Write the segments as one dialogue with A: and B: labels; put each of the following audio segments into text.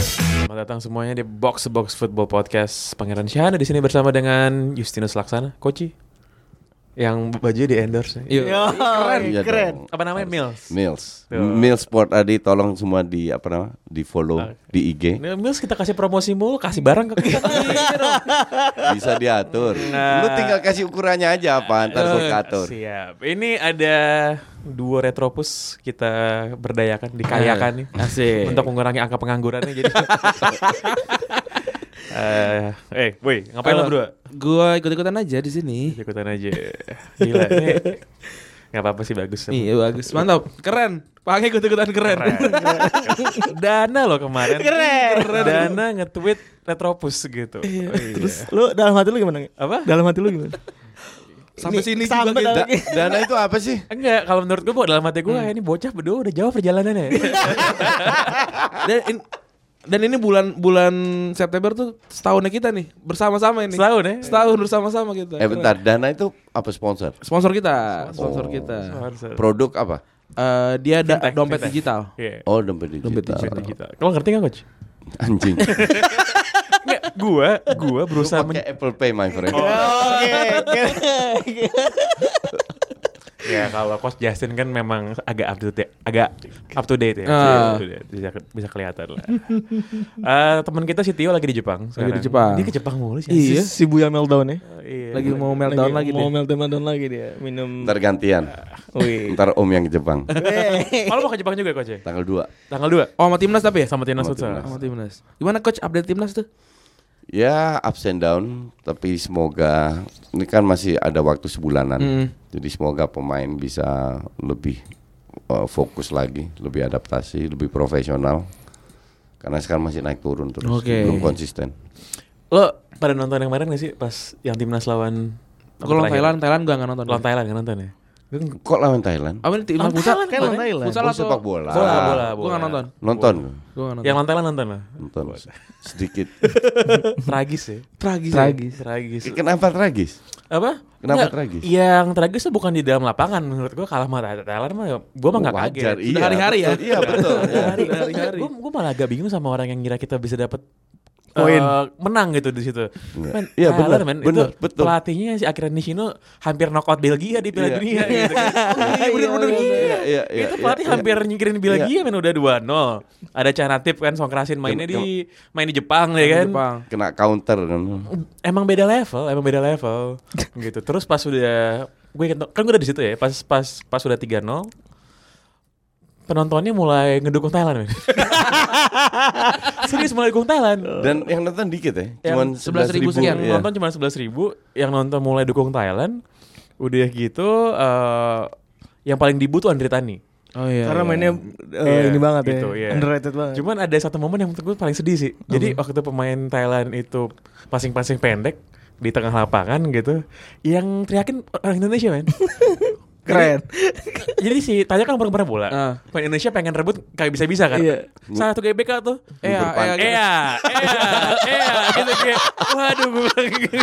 A: Selamat datang semuanya di Box to Box Football Podcast. Pangeran Syahana di sini bersama dengan Justinus Laksana, Koci. Yang baju di endorse. Yuk.
B: keren,
C: Iya
B: keren.
C: dong.
A: Apa namanya Mills?
C: Mills.
A: Tuh.
C: Mills Sport Adi tolong semua di apa nama? Di follow di IG.
A: Nah, Mills kita kasih promosi mulu, kasih barang ke kita. Iya dong.
C: Bisa diatur.
A: Nah.
C: Lu tinggal kasih ukurannya aja apa antar gua atur.
A: Siap. Ini ada dua retropus kita berdayakan,
D: kan
A: dikayakan nih.
D: Asik.
A: Untuk mengurangi angka penganggurannya jadi. Eh, eh, woi, ngapain lo
D: Eh,
A: berdua?
D: Gua ikut-ikutan aja di sini.
A: Ikutan aja. Gila, ini nggak apa-apa sih bagus.
D: Iya bagus, mantap, keren. Pakai ikut-ikutan keren.
A: Dana loh kemarin.
B: Keren.
A: Dana nge-tweet Retropus gitu.
D: Iya.
A: Terus
B: Lu dalam hati lu gimana?
A: Apa?
B: Dalam hati lu gimana?
D: Sampai
B: Ini
D: sini juga
B: sampai dalam-
D: kita.
C: Da- dana itu apa sih?
A: Enggak, kalau menurut gue dalam hati gue
D: Hmm.
A: ini bocah berdua udah jauh perjalanannya.
D: Dan, in- dan ini bulan bulan September tuh setahunnya kita nih bersama-sama ini.
A: Setahun ya?
D: Setahun bersama-sama
C: Eh
D: kita. Keren.
C: bentar, dana itu apa sponsor?
D: Sponsor kita, sponsor
C: Oh.
D: kita.
A: Harus-
C: Produk apa?
D: Eh, dia ada
A: Fintech,
D: dompet
A: fintech.
D: digital.
A: Iya.
C: Oh, dompet digital.
D: Dompet
A: Dompet digital. Kalau ngerti nggak coach?
C: Anjing.
D: Iya.
A: Enggak, gue gue berusaha men- Oh.
C: Pakai Apple Pay my friend.
B: Oke,
A: ya kalau coach Justin kan memang agak up to date, agak up to date ya.
D: Ah.
A: Up to date. Bisa, bisa kelihatan lah. Eh, teman kita si Tio lagi di Jepang. sekarang.
D: di Jepang.
A: Dia ke Jepang mulu sih.
D: Iya.
B: Si Buya meltdown ya.
A: Iya.
D: Lagi mau meltdown lagi,
B: mau
D: deh.
B: meltdown meltdown lagi dia minum.
C: Ntar gantian.
B: Wih.
C: Ntar om yang ke Jepang.
A: Kalau mau ke Jepang juga coach ya?
C: Tanggal 2.
A: Tanggal 2.
D: Oh, sama timnas tapi ya?
A: sama timnas
C: Sama
A: futsal.
C: timnas.
D: Sama timnas. Gimana coach update timnas tuh?
C: Ya ups and down, tapi semoga ini kan masih ada waktu sebulanan.
D: Hmm.
C: Jadi semoga pemain bisa lebih uh, fokus lagi, lebih adaptasi, lebih profesional. Karena sekarang masih naik turun terus,
D: Oke.
C: belum konsisten.
A: Lo pada nonton yang kemarin gak sih pas yang timnas lawan
D: Gua lawan Thailand, Thailand gua nggak nonton.
A: Lawan Thailand nggak nonton ya?
C: Kok lawan Thailand?
D: Apa ini timnas
A: Lawan
D: futsal?
A: Thailand,
B: kan lawan Thailand.
D: Futsal
C: Oh,
D: atau
C: sepak bola.
A: Bola, bola,
D: Gua
A: bola.
D: nggak nonton.
C: Nonton,
D: Gua nggak nonton.
A: Yang lawan Thailand nonton lah.
C: nonton sedikit.
A: Tragis
C: Iya.
A: ya.
D: tragis. ya?
B: Tragis.
A: Tragis.
C: Kenapa tragis?
A: Apa?
C: Iya. Kenapa
A: Nggak,
C: tragis?
A: Yang tragis tuh bukan di dalam lapangan menurut gua kalah sama Tha- Thailand mah gua mah nggak
C: Wajar,
A: kaget.
C: iya,
D: Sudah hari-hari ya?
C: betul. Iya betul. ya.
A: Hari,
D: Udah hari-hari.
A: Gua, gua malah agak bingung sama orang yang ngira kita bisa dapat
B: Poin.
A: menang gitu di situ. Men,
C: Iya,
A: Thailand,
C: benar,
A: men,
C: benar,
A: itu
C: betul.
A: pelatihnya si Akira Nishino hampir knockout Belgia di Piala
C: Iya.
A: Dunia gitu kan. Iya, bener-bener gila.
C: Iya, iya, iya,
A: itu
C: iya,
A: pelatih
C: iya.
A: hampir nyingkirin Belgia
C: Iya.
A: men udah 2-0. Ada Canatip kan Songkrasin mainnya
C: Kem-
A: di main di Jepang ya kan.
D: Jepang.
C: Kena counter kan.
A: Emang beda level, emang beda level gitu. Terus pas udah gue kan kan gue udah di situ ya, pas pas pas udah 3-0 penontonnya mulai ngedukung Thailand. men. Serius mulai dukung Thailand.
C: Dan yang nonton dikit ya,
A: Yang
C: Oh. cuman 11.000 ribu.
A: Yang
C: iya.
D: 11.000 sekian.
A: nonton cuma 11.000 yang nonton mulai dukung Thailand. Udah gitu eh, yang paling dibu tuh Andri Tani.
D: Oh iya.
B: Karena
D: iya.
B: mainnya eh,
A: Iya,
B: ini banget ya.
A: gitu, iya.
B: Underrated banget.
A: Cuman ada satu momen yang menurut gue paling sedih sih. Jadi waktu pemain Thailand itu pasing-pasing pendek di tengah lapangan gitu, yang teriakin orang Indonesia men.
B: keren.
A: Jadi si Tanya kan pernah pernah bola.
D: Ah.
A: Pemain Indonesia pengen rebut kayak bisa-bisa kan.
B: Iya.
A: Salah satu GBK tuh.
D: Iya,
C: Berpan-
D: iya, iya.
A: Iya, iya, iya gitu kayak waduh gue bilang gitu.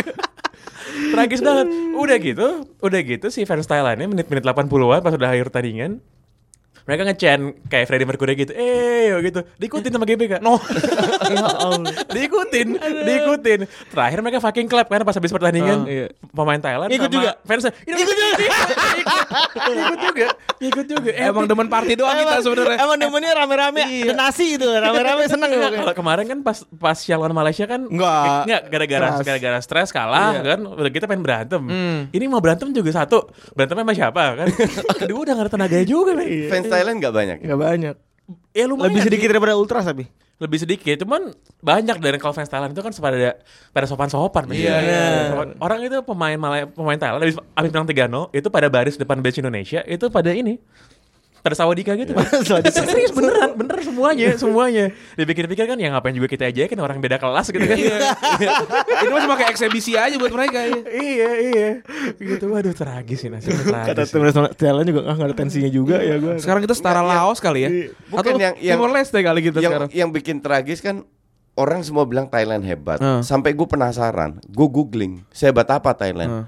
A: Tragis banget. Udah gitu, udah gitu si fans Thailandnya menit-menit 80-an pas udah akhir tandingan mereka nge-chant kayak Freddie Mercury gitu. Eh, gitu. Diikutin sama GBK. No. Ya diikutin, diikutin. Terakhir mereka fucking clap karena pas habis pertandingan
B: Ah, iya.
A: pemain Thailand
B: Ikut
A: sama
B: juga.
A: fansnya, Ikut juga. Ikut juga. Ikut juga. Eh,
D: Emang demen party doang kita sebenarnya.
B: Emang demennya rame-rame, ada nasi itu, rame-rame seneng
A: Enggak,
B: pokoknya.
A: kalau kemarin kan pas pas siang lawan Malaysia kan
B: Enggak.
A: enggak gara-gara
B: Stres.
A: gara-gara stres kalah kan udah kita pengen berantem. Ini mau berantem juga satu, berantemnya sama siapa kan? Kedua udah gak ada tenaganya juga men.
C: Fans
D: Iya.
C: Thailand nggak banyak. ya?
B: Gak banyak.
A: Ya lumayan.
B: Lebih sedikit daripada ultras tapi.
A: lebih sedikit, cuman banyak dari kalau fans Thailand itu kan pada pada sopan-sopan. men.
C: Iya.
A: Iya. Orang itu pemain Malay, pemain Thailand habis habis menang 3-0 itu pada baris depan bench Indonesia itu pada ini pada Sawadika gitu. Serius beneran, bener semuanya, semuanya. Dipikir-pikir kan ya ngapain juga kita aja kan orang beda kelas gitu kan.
D: Ini mah cuma kayak eksebisi aja buat mereka ya.
A: iya, iya. Gitu waduh tragis sih nasibnya
B: Kata
A: tragis.
B: teman Thailand juga ah nggak ada tensinya juga ya gue.
D: Sekarang kita setara Laos kali ya.
C: Bukan
D: Atau
C: yang- yang-
D: Timor Leste kali kita
C: yang
D: sekarang.
C: yang bikin tragis kan orang semua bilang Thailand hebat.
D: Heeh.
C: Sampai gue penasaran, gue googling, sehebat apa Thailand?
D: Heeh.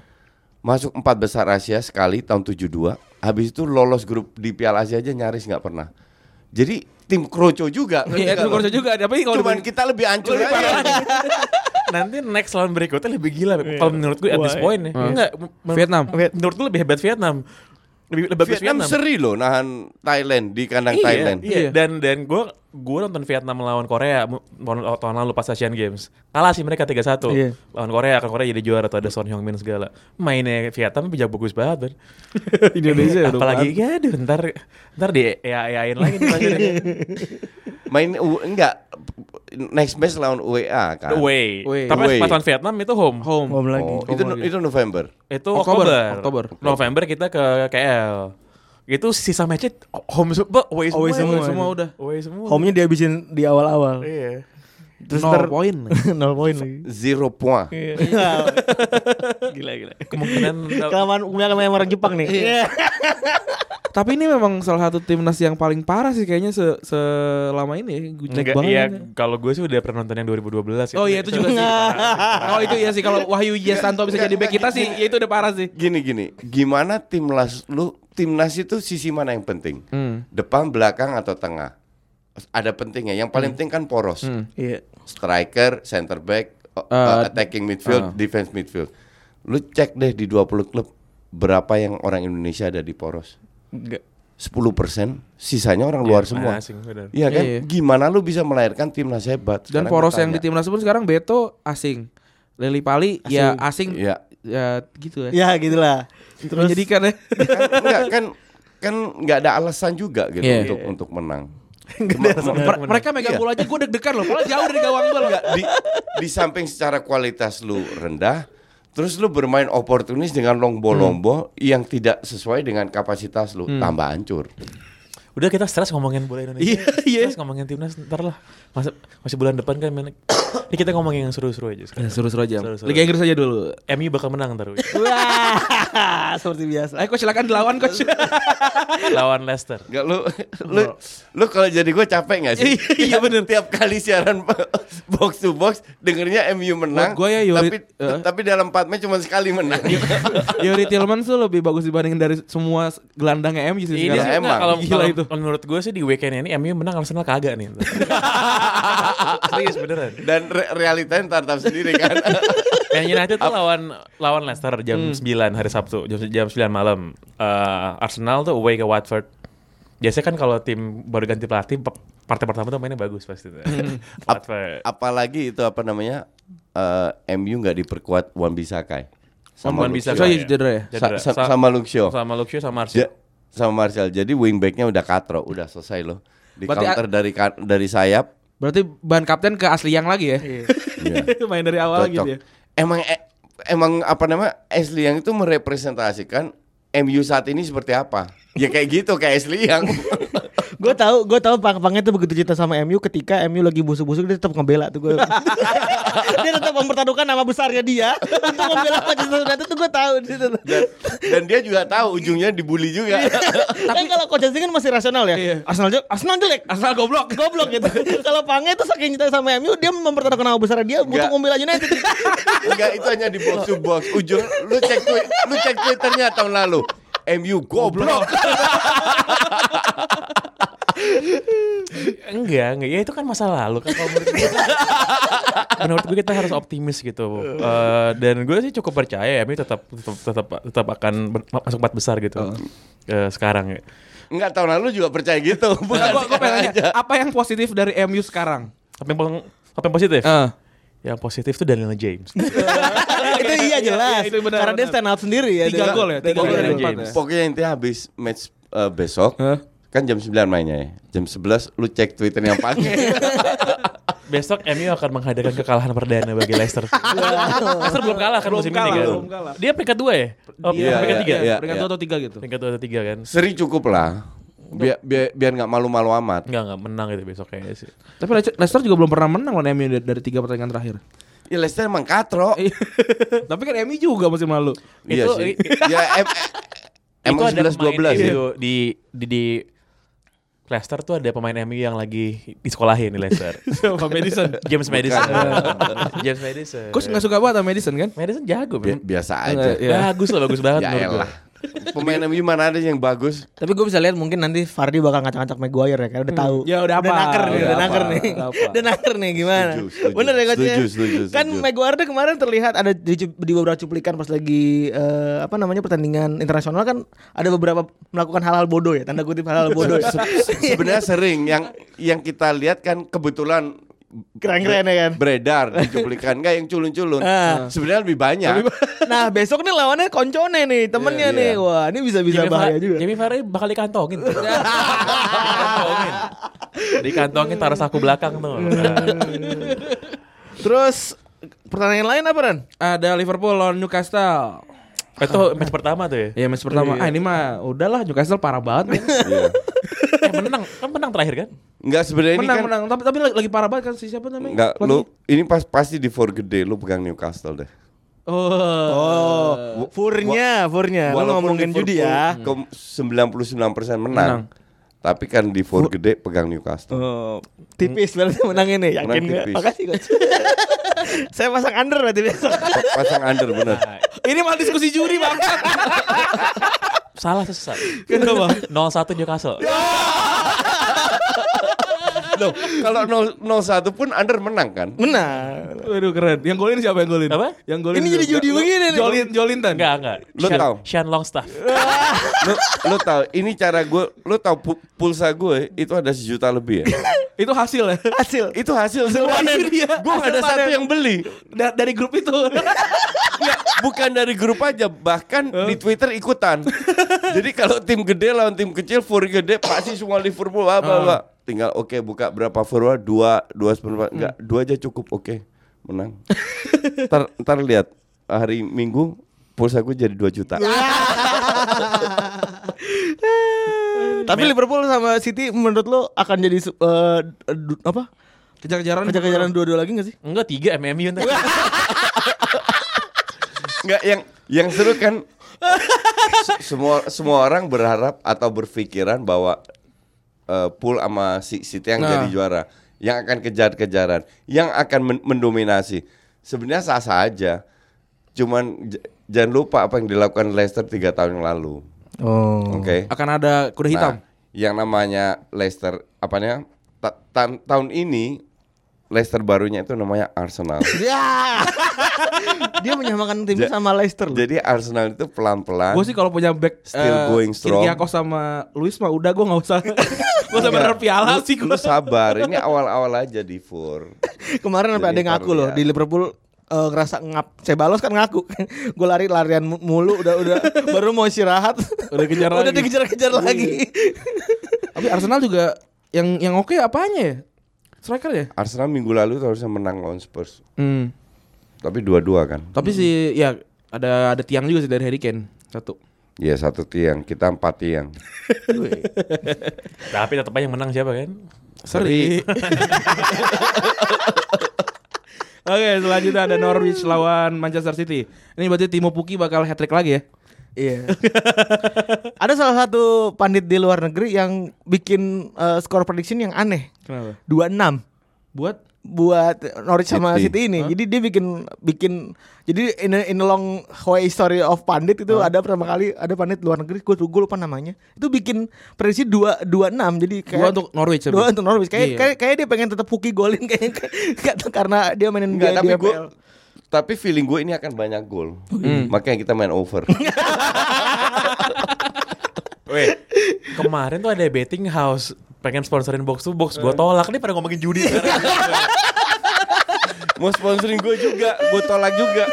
C: Masuk empat besar Asia sekali tahun 72, habis itu lolos grup di Piala Asia aja nyaris nggak pernah. Jadi tim kroco juga.
D: Iya, itu Korsa juga. Tapi kalau
C: Cuman
D: di-
C: kita lebih ancur aja.
A: Nanti next lawan berikutnya lebih gila. Beb. Kalau menurut gue at this
B: Why?
A: point ya. Enggak, men-
D: Vietnam.
A: Menurut gue lebih hebat Vietnam. Lebih, lebih bagus
C: Vietnam seri loh nahan Thailand di kandang
A: Iya,
C: Thailand.
A: Iya. Dan dan gue gue nonton Vietnam melawan Korea mu- tahun tahun lalu pas Asian Games. Kalah sih mereka 3-1.
B: Iya.
A: Lawan Korea, kan Korea jadi juara tuh ada Son Heung Min segala. Mainnya Vietnam bijak bagus banget. Ben.
B: Indonesia udah
A: Apalagi ya aduh ntar ntar di AI-ain lagi nih pasti nih.
C: Main U- enggak next match lawan UEA kan.
D: E
A: Away.
D: Away.
A: Tapi
C: Away.
A: pas lawan Vietnam itu home.
D: home.
B: Ngom lagi.
C: Oh, itu itu November.
A: Itu
D: Oktober,
A: Oktober.
D: Oktober.
A: November kita ke KL. Itu sisa match home semua, away semua.
B: Away
A: ya.
B: semua.
D: semua udah.
A: Away semua.
B: Home-nya dihabisin di awal-awal.
A: Iya.
B: Terus
D: Nol
B: ntar
D: poin.
B: nol poin lagi.
C: Zero point.
D: Iya.
B: Iya. gila Iya. gila.
A: Kemungkinan
B: Kelamaan umumnya sama yang orang Jepang nih.
D: Tapi ini memang salah satu timnas yang paling parah sih kayaknya se- selama ini ya. Gujek
A: Enggak,
D: banget.
A: iya,
D: ya.
A: kalau gue sih udah pernah nonton yang 2012
D: Oh iya itu juga sih. Kalau itu iya sih kalau Wahyu Jastanto bisa jadi back kita sih, ya itu udah parah sih.
C: Gini gini, gimana timnas lu timnas itu sisi mana yang penting? Depan, belakang atau tengah? Ada pentingnya. Yang
D: Hmm.
C: paling penting kan poros.
B: Iya.
C: Striker, center back, o-
D: Eh,
C: attacking midfield, defense midfield. Lu cek deh di 20 klub berapa yang orang Indonesia ada di poros?
B: Enggak.
C: 10%, sisanya orang luar semua.
A: Asing, benar.
C: Iya kan?
D: Iya, iya.
C: Gimana lu bisa melahirkan timnas hebat?
D: Dan
C: Sekarang
D: poros
C: gua
D: yang di
C: tanya.
D: timnas pun sekarang Beto asing. Leli Pali ya asing
C: Iya.
D: ya gitu ya.
B: Ya gitulah. Terus
D: Menjadikan ya.
C: kan enggak kan kan nggak ada alasan juga gitu
D: Iya.
C: untuk untuk menang.
D: Mer- mereka megang
C: Iya.
D: bola aja gue deg-degan loh. Bola jauh dari gawang gue loh.
C: Di, di samping secara kualitas lu rendah, terus lu bermain oportunis dengan
D: Hmm.
C: lombo-lombo yang tidak sesuai dengan kapasitas lu, tambah hancur.
A: Udah kita stres ngomongin bola Indonesia.
D: Iya, iya.
A: Stres ngomongin timnas ntar lah. Masa, masih bulan depan kan main. Ini kita ngomongin yang seru-seru aja sekarang.
D: Suruh-suruh aja.
A: Ya, Seru-seru.
D: Liga Inggris aja dulu.
A: MU bakal menang ntar. Wi.
B: Wah, seperti biasa.
D: Ayo Eh, coach silakan dilawan coach.
A: Lawan Leicester.
C: Enggak lu lu Oh. lu kalau jadi gue capek nggak sih?
D: Iya, bener.
C: Tiap kali siaran box to box dengernya MU menang.
D: Buat gua ya, Yuri-
C: tapi
D: eh. Iya.
C: tapi dalam 4 match cuma sekali menang.
D: Yuri Tillman tuh lebih bagus dibandingin dari semua gelandangnya MU
C: Iya,
D: sih sekarang.
C: sekarang. emang.
A: Kalau
D: Gila
A: kalau
D: itu.
A: menurut gue sih di weekend ini MU menang Arsenal kagak nih. ntar. Serius beneran.
C: Dan re- realitanya tartam sendiri kan.
A: Man Eh, United tuh lawan lawan Leicester jam 9 hari Sabtu jam jam 9 malam. Eh, Arsenal tuh away ke Watford. Biasanya kan kalau tim baru ganti pelatih pe- partai pertama tuh mainnya bagus pasti. tuh. Watford.
C: apalagi itu apa namanya eh, MU nggak diperkuat Wan Bisakai sama
A: Wan
C: Luxio.
A: Bisaka.
D: So iya cedera ya.
A: Cedera.
C: Sa- sa-
A: Sa-
C: sama Luxio
A: sama Luxio sama Arsenal.
C: Ja- sama Martial jadi wingbacknya udah katro udah selesai loh di
D: Berarti
C: counter dari ka- dari sayap
D: Berarti bahan kapten ke asli yang lagi ya.
C: Iya.
D: Main dari awal gitu ya.
C: cocok emang e- emang apa namanya Ashley yang itu merepresentasikan MU saat ini seperti apa ya kayak gitu kayak Ashley yang
B: Gue tahu, gue tahu Pang Pangnya tuh begitu cinta sama MU ketika MU lagi busuk-busuk dia tetap ngebela tuh gue. dia tetap mempertaruhkan nama besarnya dia untuk membela Manchester United tuh gue tahu di situ.
C: dan, dan dia juga tahu ujungnya dibully juga
B: Tapi kalau Coach Justin kan masih rasional ya.
D: Iya.
B: Arsenal jelek, Arsenal jelek.
D: Asal goblok.
B: Goblok gitu. kalau Pangnya tuh saking cinta sama MU dia mempertaruhkan nama besarnya dia untuk
C: Nggak.
B: membela United.
C: Enggak itu hanya di box to box ujung lu cek twi- lu cek twitternya tahun lalu MU goblok
A: Enggak, enggak. Ya itu kan masa lalu kan kalau menurut gue. menurut gue kita harus optimis gitu. Eh, dan gue sih cukup percaya MU tetap tetap tetap, tetap akan ber- masuk empat besar gitu. Eh, sekarang ya.
C: enggak tahun lalu juga percaya gitu bukan
D: Gue
C: sekarang
D: pengen
C: aja.
D: nanya, apa yang positif dari MU sekarang?
A: Apa yang, paling- apa yang positif?
D: Eh.
A: Yang positif tuh Daniel James.
B: itu iya jelas.
D: Itu benar,
B: Karena dia
D: benar.
B: stand out sendiri ya.
D: Tiga
B: Dia-
D: gol ya? Tiga
B: Tiga
D: gol
B: gol.
D: dari empat
A: James.
D: ya?
C: pokoknya intinya habis match eh, besok
D: Hah?
C: kan jam 9 mainnya ya jam 11 lu cek twitternya apa
A: Besok MU akan menghadapi kekalahan perdana bagi Leicester. Leicester belum kalah kan
D: Belum
A: musim
D: kalah,
A: ini kan.
D: belum kalah.
A: Dia peringkat 2 ya? Oh,
C: Iya,
A: peringkat 3.
C: iya, iya.
D: Peringkat dua atau tiga gitu.
A: Peringkat 2 atau 3 kan.
C: seri cukup lah biar biar biar nggak malu-malu amat.
A: Enggak, enggak menang itu besok kayaknya sih.
D: Tapi Leicester- Leicester juga belum pernah menang lawan MU dari, dari tiga pertandingan terakhir.
C: Ya Leicester emang katro.
D: Iya. Tapi kan MU juga musim lalu.
C: Iya
A: Itu-
C: sih. ya em, em, emang
A: itu ada
C: 11
A: pemain Iya.
C: 12 ya.
A: MU di di di Leicester tuh ada pemain MU yang lagi disekolahin di Leicester.
D: Sama Madison.
A: James Madison. James Madison.
D: Coach nggak suka banget sama Madison kan?
A: Madison jago,
C: Bi-
A: men.
C: biasa aja.
D: Iya.
A: Bagus lah, bagus banget
C: Ya
A: menurut gua.
C: elah. Pemain MU mana ada yang bagus?
B: Tapi gue bisa lihat mungkin nanti Fardi bakal ngacak-ngacak Maguire ya karena udah tahu.
D: Ya, udah
B: Udah
D: apa?
B: naker nih,
D: Udah
B: udah
D: apa?
B: naker nih.
D: Udah apa?
B: Udah naker nih gimana?
C: Setuju, setuju.
B: Bener ya coachnya?
C: Setuju, setuju,
B: Kan
C: setuju.
B: Maguire tuh kemarin terlihat ada di, di beberapa cuplikan pas lagi eh, apa namanya pertandingan internasional kan ada beberapa melakukan hal-hal bodoh ya, tanda kutip hal-hal bodoh ya.
C: Sebenarnya sering yang yang kita lihat kan kebetulan
B: Keren-keren ya kan.
C: beredar di cuplikan enggak yang culun-culun. Sebenarnya lebih banyak.
B: Nah, besok nih lawannya koncone nih, temennya
C: Iya,
B: nih. Wah, ini bisa-bisa
A: Jamie
B: bahaya
A: Vardy-
B: juga.
A: Jamie Vardy bakal dikantongin. dikantongin. Dikantongin taruh saku belakang tuh.
B: Terus pertandingan lain apa Ran?
D: Ada Liverpool lawan Newcastle.
A: itu match pertama tuh ya.
D: Iya match pertama. Ah ini mah udahlah Newcastle parah banget. men.
C: Iya.
A: Eh, menang, kan menang terakhir kan?
C: Enggak sebenarnya ini
D: menang
C: kan
D: menang. Tapi tapi lagi lagi parah banget kan si siapa namanya?
C: enggak
D: Lagi-
C: lu ini pas pasti di four gede lu pegang Newcastle deh.
D: Oh.
B: Oh, furnya,
C: Iya.
B: furnya. Lu ngomongin
C: Liverpool
B: judi ya.
C: Ke 99% menang, Tapi kan di four gede pegang Newcastle.
B: Oh, tipis berarti menangnya nih,
C: gitu.
B: yakin
C: Menang
B: nggak?
C: tipis.
B: Makasih coach. Saya pasang under berarti besok.
C: Pa- Pasang under bener.
D: Ini malah diskusi juri bang.
A: Salah sesat.
D: Kenapa?
A: 0-1 Newcastle.
C: Loh, kalau 0 01 pun under menang kan?
B: Benar.
D: Waduh keren. Yang golin siapa yang golin?
A: Apa?
D: Yang golin.
B: Ini jadi
D: siapa?
B: judi begini nih.
D: Jolin Jolinton.
A: Enggak, enggak.
C: Lu
A: Sean-
C: tahu?
A: Sean Longstaff.
C: Lu, lu tahu ini cara gue, lu tahu pu- pulsa gue itu ada sejuta lebih ya.
D: Itu hasil ya.
B: Hasil.
C: itu hasil panen.
D: hasil dia.
C: Gue
D: Hasil
C: ada satu
D: panen.
C: yang beli.
D: Da- dari grup itu.
C: Ya, bukan dari grup aja, bahkan di Twitter ikutan. Jadi kalau tim gede lawan tim kecil, for gede pasti semua Liverpool apa apa. Tinggal oke buka berapa forward dua dua seperempat enggak dua aja cukup oke menang. ntar, ntar lihat hari Minggu pulsa gue jadi 2 juta.
B: Tapi Liverpool sama City menurut lo akan jadi su- eh, du- apa?
D: Kejar-kejaran.
B: Kejar-kejaran dua-dua lagi gak sih?
A: Enggak, 3 MMU ntar.
C: Enggak yang yang seru kan se- semua semua orang berharap atau berpikiran bahwa eh, pool sama si City yang jadi juara, yang akan kejar-kejaran, yang akan men- mendominasi. Sebenarnya sah-sah aja. Cuman j- jangan lupa apa yang dilakukan Leicester tiga tahun yang lalu.
B: Oh.
C: Oke.
D: Akan ada kuda hitam.
C: Nah, yang namanya Leicester apanya? ta- ta- tahun ini Leicester barunya itu namanya Arsenal.
B: Ya. Dia menyamakan timnya
C: Ja-
B: sama Leicester loh.
C: Jadi Arsenal itu pelan-pelan.
D: Gue sih kalau punya back
C: kan? Still
D: eh,
C: going strong.
D: Kiriakos sama Luis mah udah gue nggak usah. gue usah berharap piala
C: Iya. Lu-
D: sih gue.
C: Lu sabar, ini awal-awal aja di four.
B: Kemarin sampai
C: Jadi
B: ada yang ngaku
C: baru
B: loh
C: lihat.
B: di Liverpool eh, ngerasa ngap. Cebalos kan ngaku. gue lari larian mu- mulu udah udah baru mau istirahat.
D: Udah kejar
B: udah
D: lagi.
B: dikejar-kejar lagi.
D: Tapi Arsenal juga yang yang oke apanya ya? Striker ya?
C: Arsenal minggu lalu tuh harusnya menang lawan Spurs,
D: Hmm.
C: tapi dua-dua kan.
D: Tapi sih ya ada ada tiang juga sih dari Harry Kane. Satu.
C: Ya satu tiang, kita empat tiang.
A: Tapi tetap aja yang menang siapa kan?
D: Seri. Oke, selanjutnya ada Norwich lawan Manchester City. Ini berarti Timo Pukki bakal hat trick lagi ya.
B: Iya. Ada salah satu pandit di luar negeri yang bikin eh, skor prediction yang aneh.
D: Kenapa?
B: 26
D: Buat
B: buat Norwich sama
C: City.
B: City ini. Jadi dia bikin bikin jadi in a, in a long way story of pandit itu ada pertama kali ada pandit luar negeri gue gue lupa namanya. Itu bikin prediksi 2 26 jadi kayak
D: dua untuk Norwich. tapi.
B: dua untuk Norwich kayak
D: Iya.
B: kayak, kayak dia pengen tetap puki golin kayaknya Nggak tahu karena dia mainin
C: Enggak,
B: dia-
C: tapi
B: dia
C: gue
B: PL.
C: tapi feeling gue ini akan banyak gol. Makanya kita main over.
A: Weh, kemarin tuh ada betting house pengen sponsorin box to box, gue tolak nih pada ngomongin judi sekarang.
C: Mau sponsorin gue juga, gue tolak juga.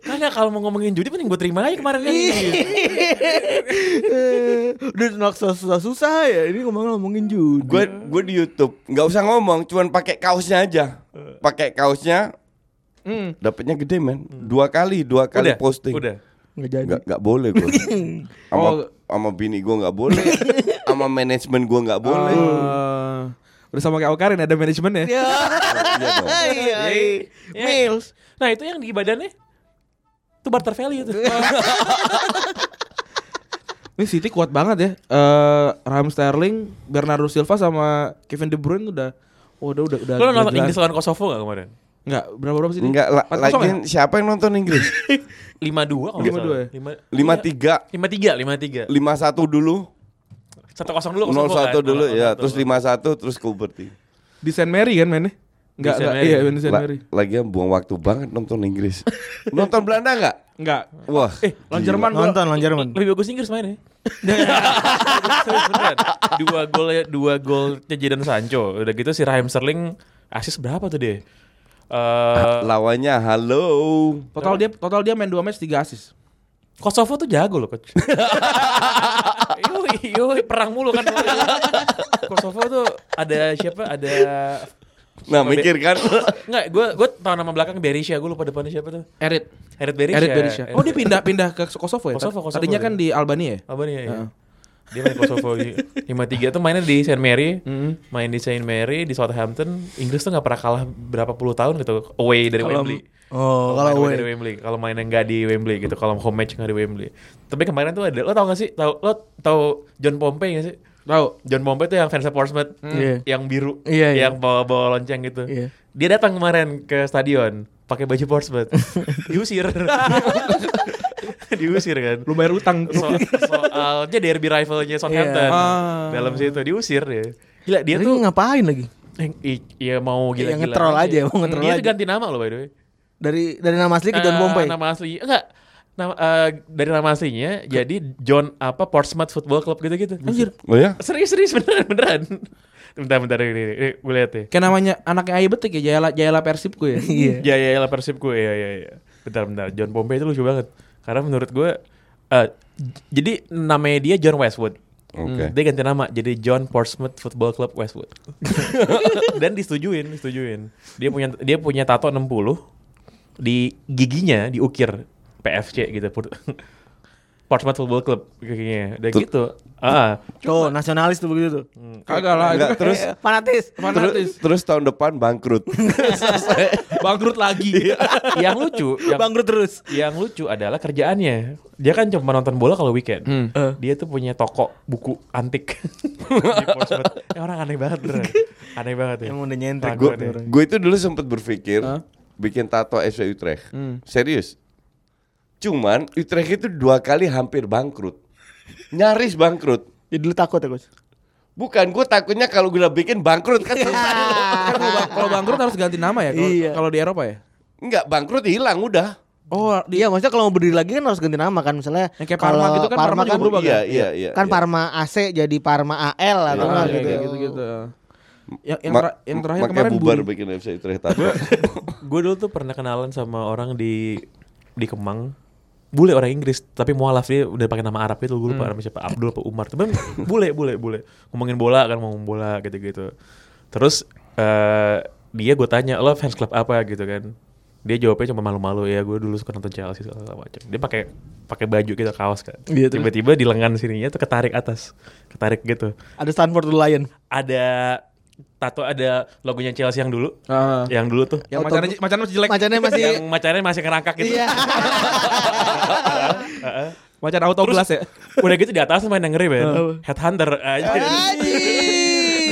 A: Karena kalau mau ngomongin judi mending gue terima aja kemarin kan.
B: Eh, Udah nolak susah, susah ya Ini ngomong ngomongin judi
C: Gue gue di YouTube, nggak usah ngomong, cuman pakai kaosnya aja. Pakai kaosnya
D: Hmm.
C: dapatnya gede men. Dua kali, dua kali
A: Udah,
C: posting.
A: udah.
C: Eh,
B: Nggak jadi
C: Nggak nggak boleh gue. Sama
D: Oh.
C: sama bini gue nggak boleh. Sama sama manajemen gua nggak boleh.
D: Eh, udah sama kayak Okarin ada ya. manajemennya.
B: Iya.
C: Iya dong.
B: Iya. Mills.
A: Nah itu yang di badannya itu barter value tuh.
D: Ini City kuat banget ya. Eh Raheem Sterling, Bernardo Silva sama Kevin De Bruyne udah udah udah udah.
A: Lo nonton
D: udah
A: Inggris
D: jelas.
A: lawan Kosovo gak kemarin?
D: Enggak, berapa berapa sih?
C: Enggak la- lagi
D: ya?
C: siapa yang nonton Inggris?
D: Iya.
A: 5-2 kalau nggak salah.
D: 5-2 ya?
A: Lima- 5-3, 5-3
C: 53 51 dulu,
A: 1-0 dulu Kosovo
C: 01
A: kan?
C: dulu ya,
A: 0-1.
C: terus 51 terus Kuberti.
D: Di Saint Mary kan mainnya? Enggak,
A: Saint
D: enggak.
A: Mary.
D: Iya, main di Saint
C: La,
D: Mary.
C: lagian buang waktu banget nonton Inggris. nonton Belanda nggak?
D: Enggak.
C: Wah.
D: Eh, lawan Jerman gua-
B: Nonton lawan Jerman.
A: Lebih bagus Inggris mainnya Beneran. Dua gol ya, Dua golnya Jadon Sancho Udah gitu si Raheem Sterling Asis berapa tuh dia? Eh,
C: Lawannya halo.
D: Total dia total dia main 2 match 3 assist.
A: Kosovo tuh jago loh coach. yoi, yoi, perang mulu kan. Kosovo tuh ada siapa? Ada
C: Nah, mikir kan.
A: Enggak, gue gue tahu nama belakang Berisha, gue lupa depannya siapa tuh.
D: Erit.
A: Herit Berisha.
D: Erit Berisha. Oh, dia pindah pindah ke Kosovo ya?
A: Kosovo, Kosovo iya.
D: Tadinya
A: dia.
D: kan di Albania ya?
A: Apa nih ya? iya.
D: Heeh.
A: Dia main Kosovo gitu. 5-3 tuh mainnya di Saint Mary, main di Saint Mary di Southampton. Inggris tuh nggak pernah kalah berapa puluh tahun gitu away dari Wembley.
B: Oh, kalau
A: main away dari
B: gue.
A: Wembley, kalau main yang nggak di Wembley gitu, kalau home match nggak di Wembley. Tapi kemarin tuh ada, lo tau gak sih? Tau, lo tau John Pompey gak sih?
D: Tahu.
A: John Pompey tuh yang fans Portsmouth
B: Iya.
A: yang biru
B: Iya, iya.
A: yang bawa bawa lonceng gitu
B: Iya.
A: dia datang kemarin ke stadion pakai baju Portsmouth diusir diusir kan
D: Lu bayar utang.
A: so, soalnya derby rivalnya Southampton
D: Iya. Ah.
A: dalam situ diusir ya gila dia
B: Dia
A: tuh
B: tuh ngapain lagi?
A: eh, i- ya mau
B: Iya,
A: gila gila
B: nge-troll aja, mau nge-troll
A: dia
B: aja.
A: tuh ganti nama loh by the way
B: Dari dari nama asli ke John
A: Eh,
B: Bompay.
A: nama asli enggak nama eh, dari nama aslinya jadi John apa Portsmouth Football Club gitu-gitu anjir
C: Oh ya?
A: Serius serius beneran beneran. Bentar bentar ini, ini gue lihat ya.
D: Kayak namanya anaknya Ayu Betik ya, Jayala Jayala Persib gue ya.
B: Iya.
A: Ya ya ya persib gue ya ya ya. Bentar bentar. John Pompey itu lucu banget. Karena menurut gue eh, j- jadi namanya dia John Westwood.
C: Oke.
D: Hmm.
A: Dia ganti nama jadi John Portsmouth Football Club Westwood. Dan disetujuin, disetujuin. Dia punya dia punya tato 60 di giginya diukir PFC gitu. Portsmouth Football Club giginya. Udah
C: Tuh.
A: gitu. Ah,
B: Tuh, nasionalis tuh begitu tuh.
D: Kagak lah. itu
C: Enggak,
D: kan-
C: terus
B: Fanatis.
C: terus
D: Fanatis.
C: terus tahun depan bangkrut.
D: Bangkrut lagi.
A: yang lucu, yang
B: Bangkrut terus.
A: yang lucu adalah kerjaannya dia kan cuma nonton bola kalau weekend
D: Hmm.
A: Eh. dia tuh punya toko buku antik di Portsmouth ya, orang aneh banget beneran. aneh banget ya
B: Emang udah nyentrik
A: Bangkrut
C: gue
A: ya.
B: orang.
C: gue itu dulu sempat berpikir
D: Hah? Hmm.
C: bikin tato FC Utrecht serius cuman Utrecht itu dua kali hampir bangkrut nyaris bangkrut
B: Ya dulu takut ya, Coach.
C: bukan gue takutnya kalau gue udah bikin bangkrut kan susah.
D: Kan kalau bang- kalau bangkrut harus ganti nama ya kalau-
B: Iya.
D: kalau di Eropa ya.
C: nggak bangkrut hilang udah
D: Oh, di
B: Iya, maksudnya kalau mau berdiri lagi kan harus ganti nama kan misalnya.
D: Yang kayak Parma
B: kalau
D: gitu kan, Parma juga
B: kan
D: berubah
C: iya
D: kan?
C: iya iya
B: kan
C: iya.
B: Parma AC jadi Parma AL atau
D: Ah,
B: enggak
D: iya,
B: gitu.
D: kayak gitu-gitu. Yang yang,
C: Ma-
D: tera- yang terakhir
C: makanya
D: kemarin
C: bubar
D: Budi.
C: bikin FC Utrecht tato
A: gue dulu tuh pernah kenalan sama orang di di Kemang bule orang Inggris tapi mualaf dia udah pakai nama Arab itu gue
B: Hmm.
A: lupa namanya siapa Abdul apa Umar tapi bule bule bule ngomongin bola kan ngomongin bola gitu gitu terus eh, dia gue tanya lo fans club apa gitu kan dia jawabnya cuma malu-malu ya gue dulu suka nonton Chelsea segala macam dia pakai pakai baju gitu kaos kan
B: Iya, terus?
A: tiba-tiba di lengan sininya tuh ketarik atas ketarik gitu
B: Ada Stanford dulu Lion.
A: ada tato ada logonya Chelsea yang dulu
D: Ah.
A: yang dulu tuh
D: Yang macan aja, macan masih jelek.
B: Macannya masih
A: yang macarnya masih ngerangkak gitu.
B: Iya.
D: Macan auto glass ya.
A: Udah gitu di atas main yang ngeri banget. Headhunter aja.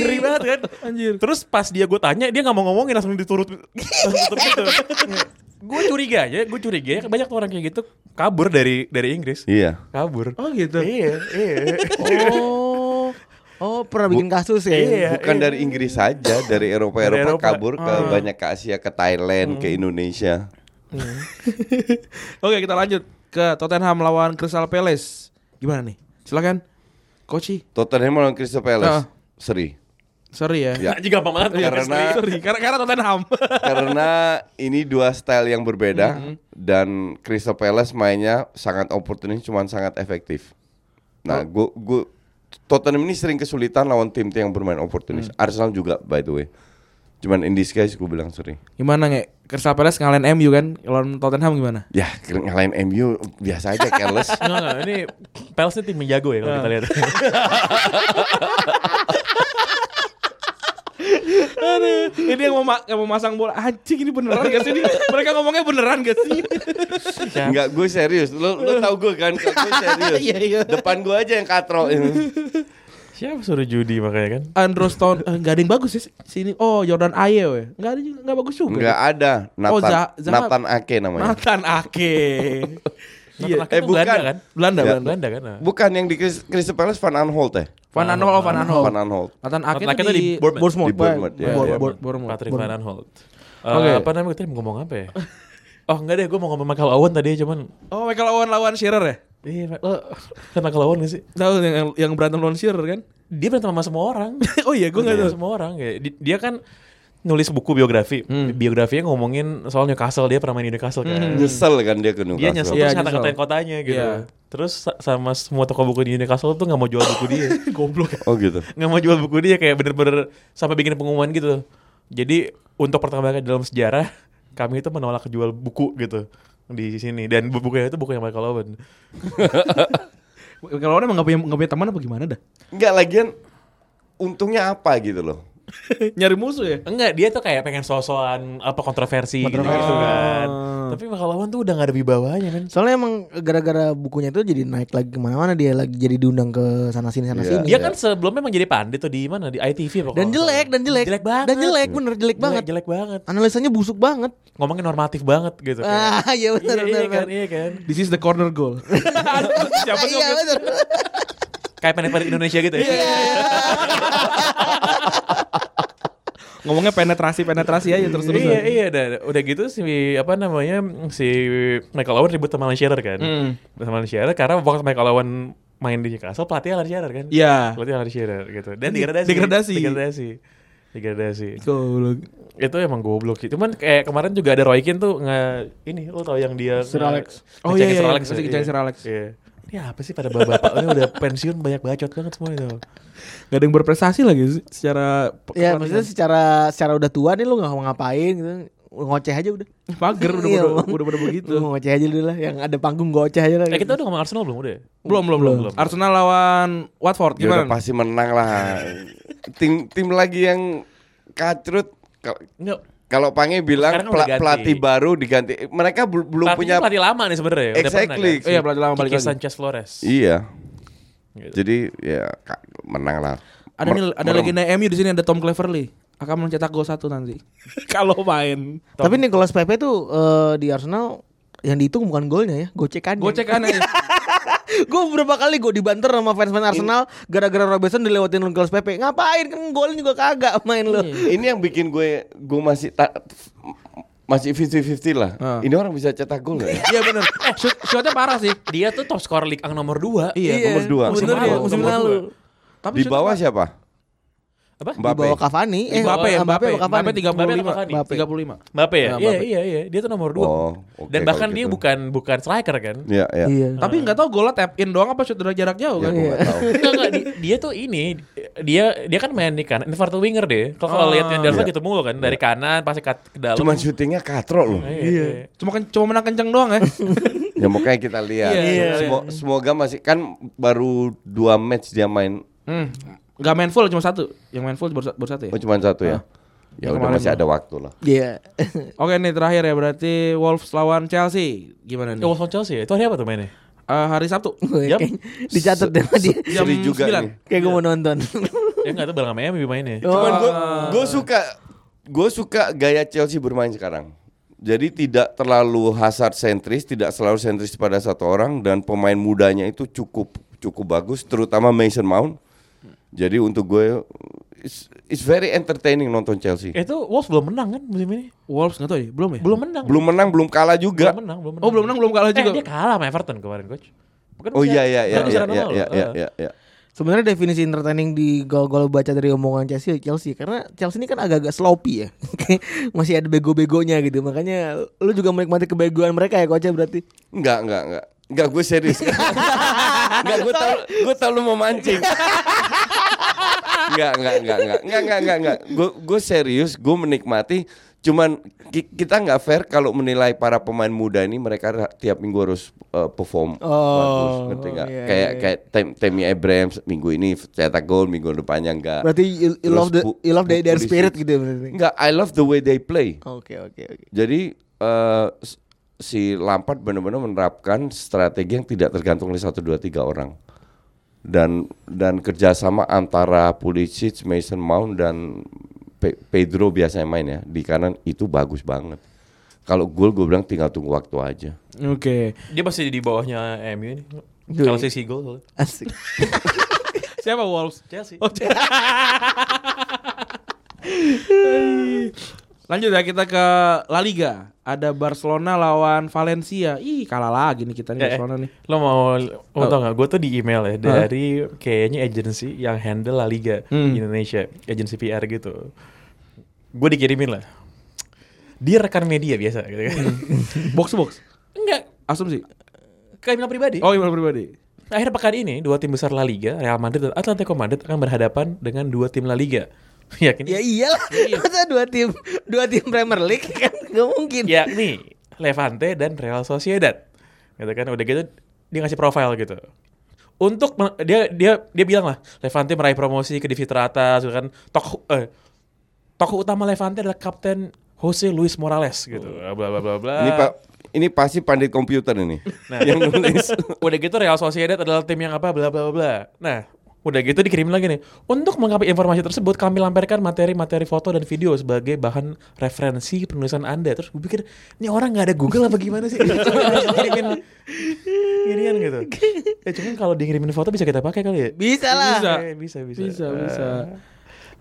A: ngeri banget kan. Anjir. Terus pas dia gue tanya, dia nggak mau ngomongin langsung diturut. langsung tutup gitu. gue curiga aja, gue curiga ya banyak tuh orang kayak gitu kabur dari dari Inggris.
C: iya
A: Kabur.
D: Oh gitu.
A: Iya, iya.
B: Oh. Oh, pernah bikin kasus ya.
A: Iya.
C: bukan dari Inggris saja dari Eropa
A: Dari Eropa.
C: Eropa kabur ke
D: Ah.
C: banyak ke Asia ke Thailand
D: Hmm.
C: ke Indonesia
D: Oke, kita lanjut ke Tottenham lawan Crystal Palace. Gimana nih? Silakan. Koci,
C: Tottenham lawan Crystal
D: Ah.
C: Palace seri
D: sorry ya.
C: Ya.
A: Anjing gampang banget.
C: Karena-
D: Sorry, karena karena Tottenham.
C: karena ini dua style yang berbeda
D: Mm-hmm.
C: dan Crystal Palace mainnya sangat oportunis cuman sangat efektif. Nah,
D: Oh.
C: gua gua
D: Mm.
C: Tottenham ini sering kesulitan lawan tim-tim yang bermain oportunis. Arsenal juga by the way. Cuman in disguise gue bilang sorry.
D: Gimana nge? Crystal Palace ngalahin MU kan? Lawan Tottenham gimana?
C: Ya ngalahin MU biasa aja careless.
A: Enggak, enggak. Nah, Ini Pelsnya tim yang jago ya kalau kita lihat.
D: Aduh, ini yang mau ma- yang mau masang bola anjing ini beneran gak sih ini? Mereka ngomongnya beneran gak sih?
C: Enggak, gue serius. Lo lo tau gue kan, kalau gue serius.
D: Ya. Iya, iya. Oh,
C: Depan gue aja yang katro.
A: Siapa suruh judi makanya kan?
D: Andrew Stone eh, nggak ada yang bagus sih sini. Oh Jordan Ayew ya, nggak ada juga nggak bagus juga.
C: Enggak ada.
D: Oh,
C: Nathan,
D: Zaha- Zaha-
C: Nathan Ake namanya.
D: Nathan Ake.
A: Nathan Ake
C: Eh,
A: itu
C: bukan.
A: Belanda kan?
D: Nah, Belanda,
C: Ya.
D: Belanda.
A: Belanda kan? ah.
C: Bukan yang di Chris- Crystal Palace Van Aanholt ya?
D: Van Aanholt, oh, Van Aanholt.
C: Van Aanholt.
D: Nathan Ake
A: Nathan Ake
D: tuh
A: tuh
D: di,
A: di Bournemouth.
C: Di Bournemouth, ya,
D: Bournemouth.
C: ya.
D: Bournemouth. Bournemouth.
A: Patrick
D: Bournemouth.
A: Van Aanholt. Eh,
D: Oke.
A: Apa namanya tadi mau ngomong apa ya? Oh enggak deh, gue mau ngomong Michael Owen tadi cuman
D: Oh, Michael Owen lawan Shearer ya?
A: Iya, Pak. lo kan Michael Owen gak sih?
D: Tahu yang yang- yang berantem lawan Shearer kan?
A: Dia berantem sama semua orang.
D: oh iya, gue nggak
A: Berantem
D: tahu.
A: sama semua orang. kayak di- Dia kan nulis buku biografi.
D: Hmm.
A: Biografinya ngomongin soal Newcastle, dia pernah main di Newcastle kan.
C: Nyesel kan dia ke Newcastle.
A: Dia nyesel
D: Iya,
A: terus ngata-ngatain
D: nyesel.
A: kotanya gitu.
D: Iya.
A: Terus sa- sama semua toko buku di Newcastle tuh nggak mau jual buku dia. Goblok.
C: Oh gitu.
A: Nggak mau jual buku dia kayak bener-bener sampai bikin pengumuman gitu. Jadi untuk pertama kali dalam sejarah kami itu menolak jual buku gitu di sini dan bu- bukunya itu buku yang Michael Owen.
D: Michael Owen emang nggak punya nggak punya teman apa gimana dah?
C: Enggak lagian untungnya apa gitu loh.
D: Nyari musuh ya?
A: Enggak, dia tuh kayak pengen sosokan apa kontroversi gitu,
B: Kontroversi.
A: kan. Tapi Michael Owen tuh udah gak ada kan. wibawanya men.
B: Soalnya emang gara-gara bukunya itu jadi naik lagi kemana-mana dia lagi jadi diundang ke sana sini sana sini.
A: Dia kan sebelumnya emang jadi pandit tuh di mana di ITV apa
B: dan
A: kalau
B: jelek
A: nggak salah.
B: dan jelek
A: Jelek banget.
B: dan jelek bener jelek, banget.
A: Jelek banget.
B: Analisanya busuk banget.
A: Ngomongnya normatif banget gitu. kayak.
B: Ah iya benar
A: iya,
B: benar.
A: iya kan,
B: benar.
A: iya kan.
D: This is the corner goal. Siapa sih?
B: Iya
D: waktu itu?
B: benar.
A: Kayak penikmat Indonesia gitu ya.
D: Ngomongnya penetrasi penetrasi aja terus terusan.
A: Iya iya udah, udah gitu si apa namanya si Michael Owen ribut sama Alan Shearer kan.
D: Hmm.
A: Sama Alan Shearer karena waktu Michael Owen main di Newcastle pelatih Alan Shearer kan.
D: Iya.
A: Pelatih Alan Shearer gitu. Dan degradasi.
D: Degradasi.
A: Degradasi. Degradasi.
D: Goblok.
A: Itu emang goblok sih. Cuman kayak kemarin juga ada Roy Keane tuh nge ini lo tau yang dia
B: Sir
A: nge-
B: Alex.
D: Oh,
A: ngecengin
D: iya, iya,
A: Sir
D: iya.
A: Alex. ya,
D: Masih ngecengin
A: iya.
D: Sir Alex.
A: Iya. Ini apa sih pada bapak-bapak ini udah pensiun banyak bacot banget semua itu.
D: Gak ada yang berprestasi lagi se- secara
B: Ya maksudnya secara secara udah tua nih lu nggak mau ngapain gitu ngoceh aja udah.
D: pagar udah
B: Iya,
D: udah
B: Bang.
D: udah udah begitu.
B: Lu ngoceh aja dulu lah yang ada panggung goceh aja lah.
A: Eh kita udah ngomong Arsenal belum udah? ya?
D: Belum belum belum. Arsenal lawan Watford
C: Ya udah
D: gimana?
C: pasti menang lah. tim tim lagi yang kacrut Kal-
A: Enggak.
C: kalau Pange bilang
A: Sekarang udah
C: pela-
A: ganti.
C: pelatih baru diganti mereka bel- belum
A: Pelatihnya
C: punya
A: pelatih lama nih sebenarnya. Udah pernah
C: Exactly.
A: kan?
D: Oh iya pelatih lama balik
A: Kiki
D: lagi.
A: Sanchez Flores.
C: Iya.
A: Gitu.
C: Jadi ya ka- menang lah.
D: Ada nih
C: Mer-
D: ada
C: merem.
D: legenda MU di sini ada Tom Cleverley akan mencetak gol satu nanti. Kalau main.
B: Tapi Nicolas Pepe tuh eh, di Arsenal yang dihitung bukan golnya ya, gocekannya.
D: Gocek aneh.
B: gue berapa kali gue dibanter sama fans-fans
C: Iya.
B: Arsenal gara-gara Robertson dilewatin Nicolas Pepe. Ngapain kan golnya juga kagak main lu.
C: Ini yang bikin gue gue masih ta- f- masih 50-50 lah.
D: Ah.
C: Ini orang bisa cetak gol nggak ya?
D: Iya benar. Shoot, shotnya parah sih.
A: Dia tuh top scorer League Ang nomor 2.
D: Iya,
C: nomor dua.
B: Musim
A: Nomor
B: lalu,
A: dua,
B: musim
A: nomor
B: lalu.
A: dua.
D: Tapi
C: Di
D: shootnya
C: bawah
D: parah.
C: siapa?
A: Apa?
B: Di
C: Mbappe.
B: bawah Cavani, eh
D: Mbappe,
B: eh,
D: Mbappe,
B: apa Cavani?
D: Mbappe 35,
A: Mbappe.
D: 35.
A: Mbappe ya?
D: Ya,
A: Iya
D: Mbappe.
A: iya iya, dia tuh nomor 2.
C: Oh, oke
A: Dan bahkan
C: kalau
A: dia
C: gitu.
A: bukan bukan striker kan?
C: Iya, iya.
B: Iya.
D: Tapi nggak tahu golnya tap in doang apa shoot dari jarak jauh
C: Ya,
D: kan?
C: gue nggak tahu.
A: Enggak, enggak, di- dia tuh ini dia dia kan main di kanan, inverted winger deh. Kalau kalau lihat yang
C: Iya.
A: gitu mulu kan dari kanan pasti ke, ke dalam.
C: Cuman syutingnya katro loh.
A: Iya, iya.
D: Cuma kan cuma menang kenceng doang ya.
C: Ya makanya kita lihat.
D: Iya, iya,
C: Semo- Semoga masih kan baru dua match dia main.
D: Hmm. Gak main full cuma satu. Yang main full baru, sa- baru satu ya.
C: Oh cuma satu ya. Ya udah
D: Yang kemarin
C: masih
D: lah.
C: ada waktu lah.
B: Iya.
D: Oke nih terakhir ya berarti Wolves lawan Chelsea.
C: Iya.
D: Gimana nih?
A: Ke Wolves lawan Chelsea ya? itu hari apa tuh mainnya?
D: Eh, hari Sabtu.
A: Jam-
B: Kayak Dicatat deh sama dia.
D: Jam
C: Seri juga
D: 9.
C: nih.
B: Kayak gue mau nonton.
A: ya enggak tuh bareng sama MU mainnya.
C: Cuman gue gue suka gue suka gaya Chelsea bermain sekarang. Jadi tidak terlalu hazard sentris, tidak selalu sentris pada satu orang dan pemain mudanya itu cukup cukup bagus, terutama Mason Mount. Jadi untuk gue it's, it's very entertaining nonton Chelsea.
A: Itu Wolves belum menang kan musim ini?
D: Wolves nggak tahu ya? Belum ya?
A: Belum menang.
C: Iya. Belum menang, belum kalah juga.
A: Belum menang, belum menang.
D: Oh belum menang belum kalah
A: Eh,
D: juga.
A: dia kalah sama Everton kemarin, coach. Bukan
C: Oh iya iya iya
A: bukan
C: iya
A: secara
C: iya
A: nol,
C: iya
A: eh.
C: iya, iya, iya.
B: Sebenarnya definisi entertaining di gol-gol baca dari omongan Chelsea ya Chelsea karena Chelsea ini kan agak-agak sloppy ya. Kayak Masih ada bego-begonya gitu. Makanya lu juga menikmati kebegoan mereka ya Koce berarti.
C: Enggak, enggak, enggak. Enggak gue serius. enggak gue tahu gue tahu lu mau mancing. Enggak, enggak, enggak, enggak. Enggak, enggak, enggak, enggak. Gue gue serius, gue menikmati cuman ki- kita nggak fair kalau menilai para pemain muda ini mereka ra- tiap minggu harus uh, perform
B: Oh,
C: bagus, ngerti nggak?
B: iya,
C: kayak
B: iya.
C: kayak Tem- Tammy Abrams minggu ini cetak gol, minggu depannya enggak.
B: Berarti you, you love the
C: Terus bu-
B: you love the,
C: bu-
B: their
C: polisi.
B: spirit gitu ya berarti.
C: Enggak, I love the way they play.
B: Oke oke oke.
C: Jadi eh, s- si Lampard benar-benar menerapkan strategi yang tidak tergantung oleh satu dua tiga orang dan dan kerjasama antara Pulisic, Mason Mount dan Pe- Pedro biasanya main ya di kanan itu bagus banget. Kalau gol gue bilang tinggal tunggu waktu aja.
D: Oke.
A: Dia masih di bawahnya MU ini.
C: Iya.
A: Kalau sisi gol.
B: Asik.
D: Siapa Wolves?
A: Chelsea.
D: Oh, Chelsea. Lanjut ya kita ke La Liga. Ada Barcelona lawan Valencia. Ih, kalah lagi nih kita nih
A: Eh, eh.
D: Barcelona nih. Oh.
A: Lo mau lo tau gak? Gue tuh di email ya dari kayaknya agency yang handle La Liga
D: Hmm.
A: Indonesia, agency PR gitu. Gue dikirimin lah. Dia rekan media biasa gitu kan.
D: Hmm. Box to box.
A: Enggak,
D: Asumsi.
A: ke email pribadi.
D: Oh, email pribadi.
A: Akhir pekan ini dua tim besar La Liga, Real Madrid dan Atletico Madrid akan berhadapan dengan dua tim La Liga. Yakin?
B: Ya iyalah. Masa dua tim dua tim Premier League kan nggak mungkin.
A: yakni Levante dan Real Sociedad. Gitu kan udah gitu dia ngasih profile gitu. Untuk men- dia dia dia bilang lah Levante meraih promosi ke divisi teratas gitu kan tokoh eh, tokoh utama Levante adalah kapten Jose Luis Morales gitu. Bla bla bla bla.
C: Ini pak ini pasti pandit komputer ini
A: Nah.
C: yang nulis.
A: udah gitu Real Sociedad adalah tim yang apa bla bla bla, bla. Nah, udah gitu dikirim lagi nih. Untuk melengkapi informasi tersebut kami lampirkan materi-materi foto dan video sebagai bahan referensi penulisan Anda. Terus gue pikir, ini orang nggak ada Google apa gimana sih? Terus kirimin kirian gitu. Ya cuman kalau dikirimin foto bisa kita pakai kali ya?
B: Bisa lah.
D: Bisa.
A: Eh, bisa, bisa.
D: Bisa,
A: Eh,
D: bisa.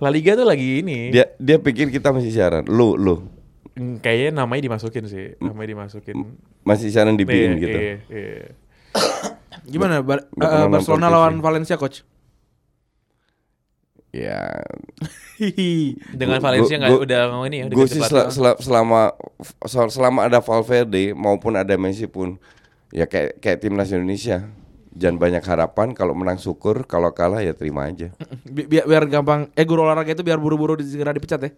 A: La Liga tuh lagi ini.
C: Dia dia pikir kita masih siaran. Lu lu
A: Mm, Kayaknya namanya dimasukin sih, namanya dimasukin.
C: masih siaran di
A: Iya,
C: BIN gitu.
A: iya, iya.
D: Gimana Bar-
C: nggak
D: eh,
C: pernah nonton
D: Barcelona
C: TV.
D: lawan Valencia coach?
C: Ya
D: Hihi.
A: Dengan
C: Gua-
A: Valencia
C: gua-
A: nggak
C: gua-
A: udah mau ini ya? udah
C: Gue
A: ganti
C: sih
A: pelatih.
C: sel- sel- selama sel- selama ada Valverde maupun ada Messi pun ya kayak kayak timnas Indonesia. Jangan banyak harapan kalau menang syukur, kalau kalah ya terima aja.
D: Bi- biar, biar gampang eh guru olahraga itu biar buru-buru di- segera dipecat ya.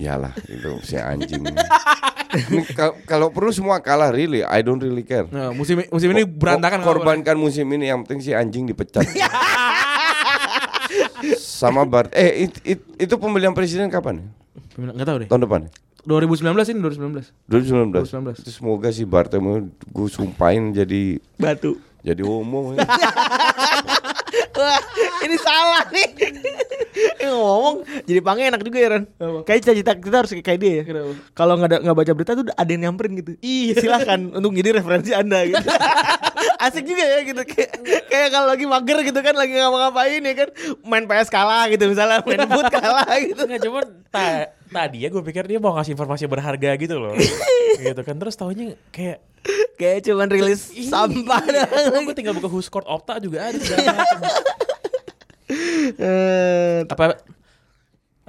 C: Iyalah itu si anjing. Ini ka- kalau perlu semua kalah really, I don't really care.
D: Nah, musim musim ini berantakan
C: Ko- korbankan musim ini yang penting si anjing dipecat. Sama Bart. Eh it- it- itu pemilihan presiden kapan? ya?
D: Enggak tahu deh.
C: Tahun depan. ya?
D: 2019 ini 2019.
C: 2019.
D: 2019.
C: Itu Semoga si Bartemu gue sumpahin jadi
B: Batu.
C: jadi umum
B: Wah, ini salah nih. Ini ngomong jadi pange enak juga ya Ren. Kayak cita-cita kita harus kayak dia ya.
D: Kenapa?
B: Kalau nggak ada- nggak baca berita tuh ada yang nyamperin gitu. Iya. Silakan untuk jadi referensi anda gitu. Asik juga ya gitu kayak, kayak kalau lagi mager gitu kan lagi ngapa-ngapain ya kan main PS kalah gitu misalnya main boot kalah gitu.
A: Enggak cuman ta- tadi ya gue pikir dia mau ngasih informasi berharga gitu loh. gitu kan terus tahunya kayak
B: Kayak cuman rilis sampah doang.
A: gue tinggal buka Huskort Opta juga ada. segala macam.
B: Eh,
A: Apa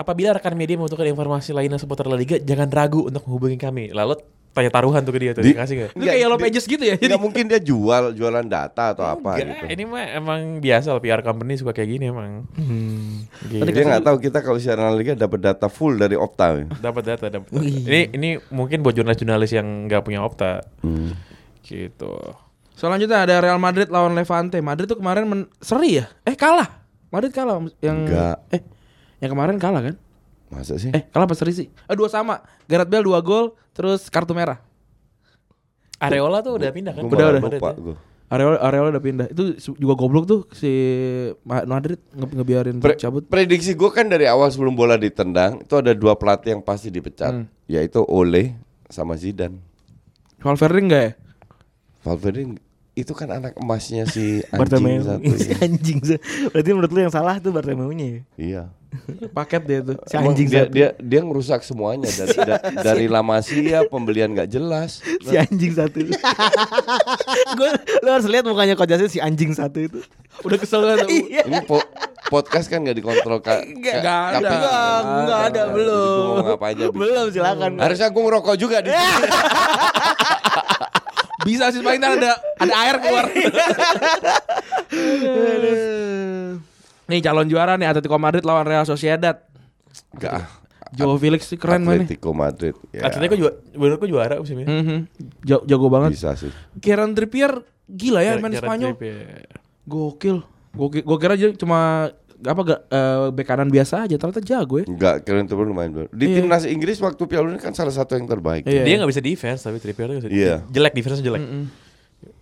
A: apabila rekan media membutuhkan informasi lainnya seputar La Liga jangan ragu untuk menghubungi kami. Lalu tanya taruhan tuh ke dia tuh
C: Di-
A: dikasih gak?
D: Itu kayak Yellow
C: di-
D: Pages gitu ya. Jadi
C: Enggak mungkin dia jual jualan data atau apa gitu.
A: Ini mah emang biasa lah PR company suka kayak gini emang.
C: Hmm.
A: Gitu.
C: Dia nggak tahu kita kalau siaran liga dapat data full dari Opta.
D: Eh.
A: Dapat data, dapat. data. Ini ini mungkin buat jurnalis-jurnalis yang nggak punya Opta. Gitu.
D: Selanjutnya ada Real Madrid lawan Levante. Madrid tuh kemarin men- seri ya? Eh kalah. Madrid kalah yang
C: Enggak.
D: eh yang kemarin kalah kan?
C: Masa sih?
D: Eh kalah apa seri sih? Eh dua sama. Gareth Bale dua gol terus kartu merah.
A: Areola tuh udah pindah kan?
C: Gua
D: udah,
C: malah
D: udah.
C: lupa gua.
D: Areola Areola udah pindah. Itu su- juga goblok tuh si Ma- Madrid nge- ngebiarin
C: Pre-
D: cabut.
C: prediksi gue kan dari awal sebelum bola ditendang itu ada dua pelatih yang pasti dipecat, yaitu Ole sama Zidane.
D: Valverde enggak ya?
C: Valverde itu kan anak emasnya si anjing
B: Bartomeu
C: satu.
B: si anjing. Berarti menurut lu yang salah tuh Bartomeu-nya ya?
C: iya.
D: Paket dia tuh.
B: Si
C: Emang
B: anjing
C: dia,
B: satu.
C: dia dia ngerusak semuanya dari da- dari La Masia pembelian nggak jelas.
B: si anjing satu gue lo harus lihat mukanya Coach Justin si anjing satu itu
D: Udah kesel banget.
C: Ini po- podcast kan nggak dikontrol kak.
D: Nggak ada.
B: Enggak, enggak ada
C: Jadi gua
B: belum
C: mau ngapain aja, bisa.
B: Iya. belum silakan
C: Harusnya gue ngerokok juga di sini.
D: Bisa sih paling ntar ada ada air keluar. Nih calon juara nih Atletico Madrid lawan Real Sociedad.
C: Gak.
D: Joao Felix sih keren
C: ah,
D: mana?
C: Atletico Madrid. Ya,
A: Atletico juga menurutku juara musim ini.
D: Mhm. Ja- Jago banget.
C: Bisa sih.
D: Kieran Trippier gila ya
A: Jarak-
D: main
A: jarak
D: Spanyol.
A: Trippier.
D: Gokil. Gokil. Gue kira aja cuma apa gak, eh, bek kanan biasa aja ternyata jago ya.
C: Enggak, keren tuh lumayan baru. Di
D: Iya.
C: timnas Inggris waktu Piala Dunia kan salah satu yang terbaik.
D: Iya.
A: Dia nggak bisa defense tapi Trippier tuh nggak bisa.
C: Iya.
A: Jelek defense jelek.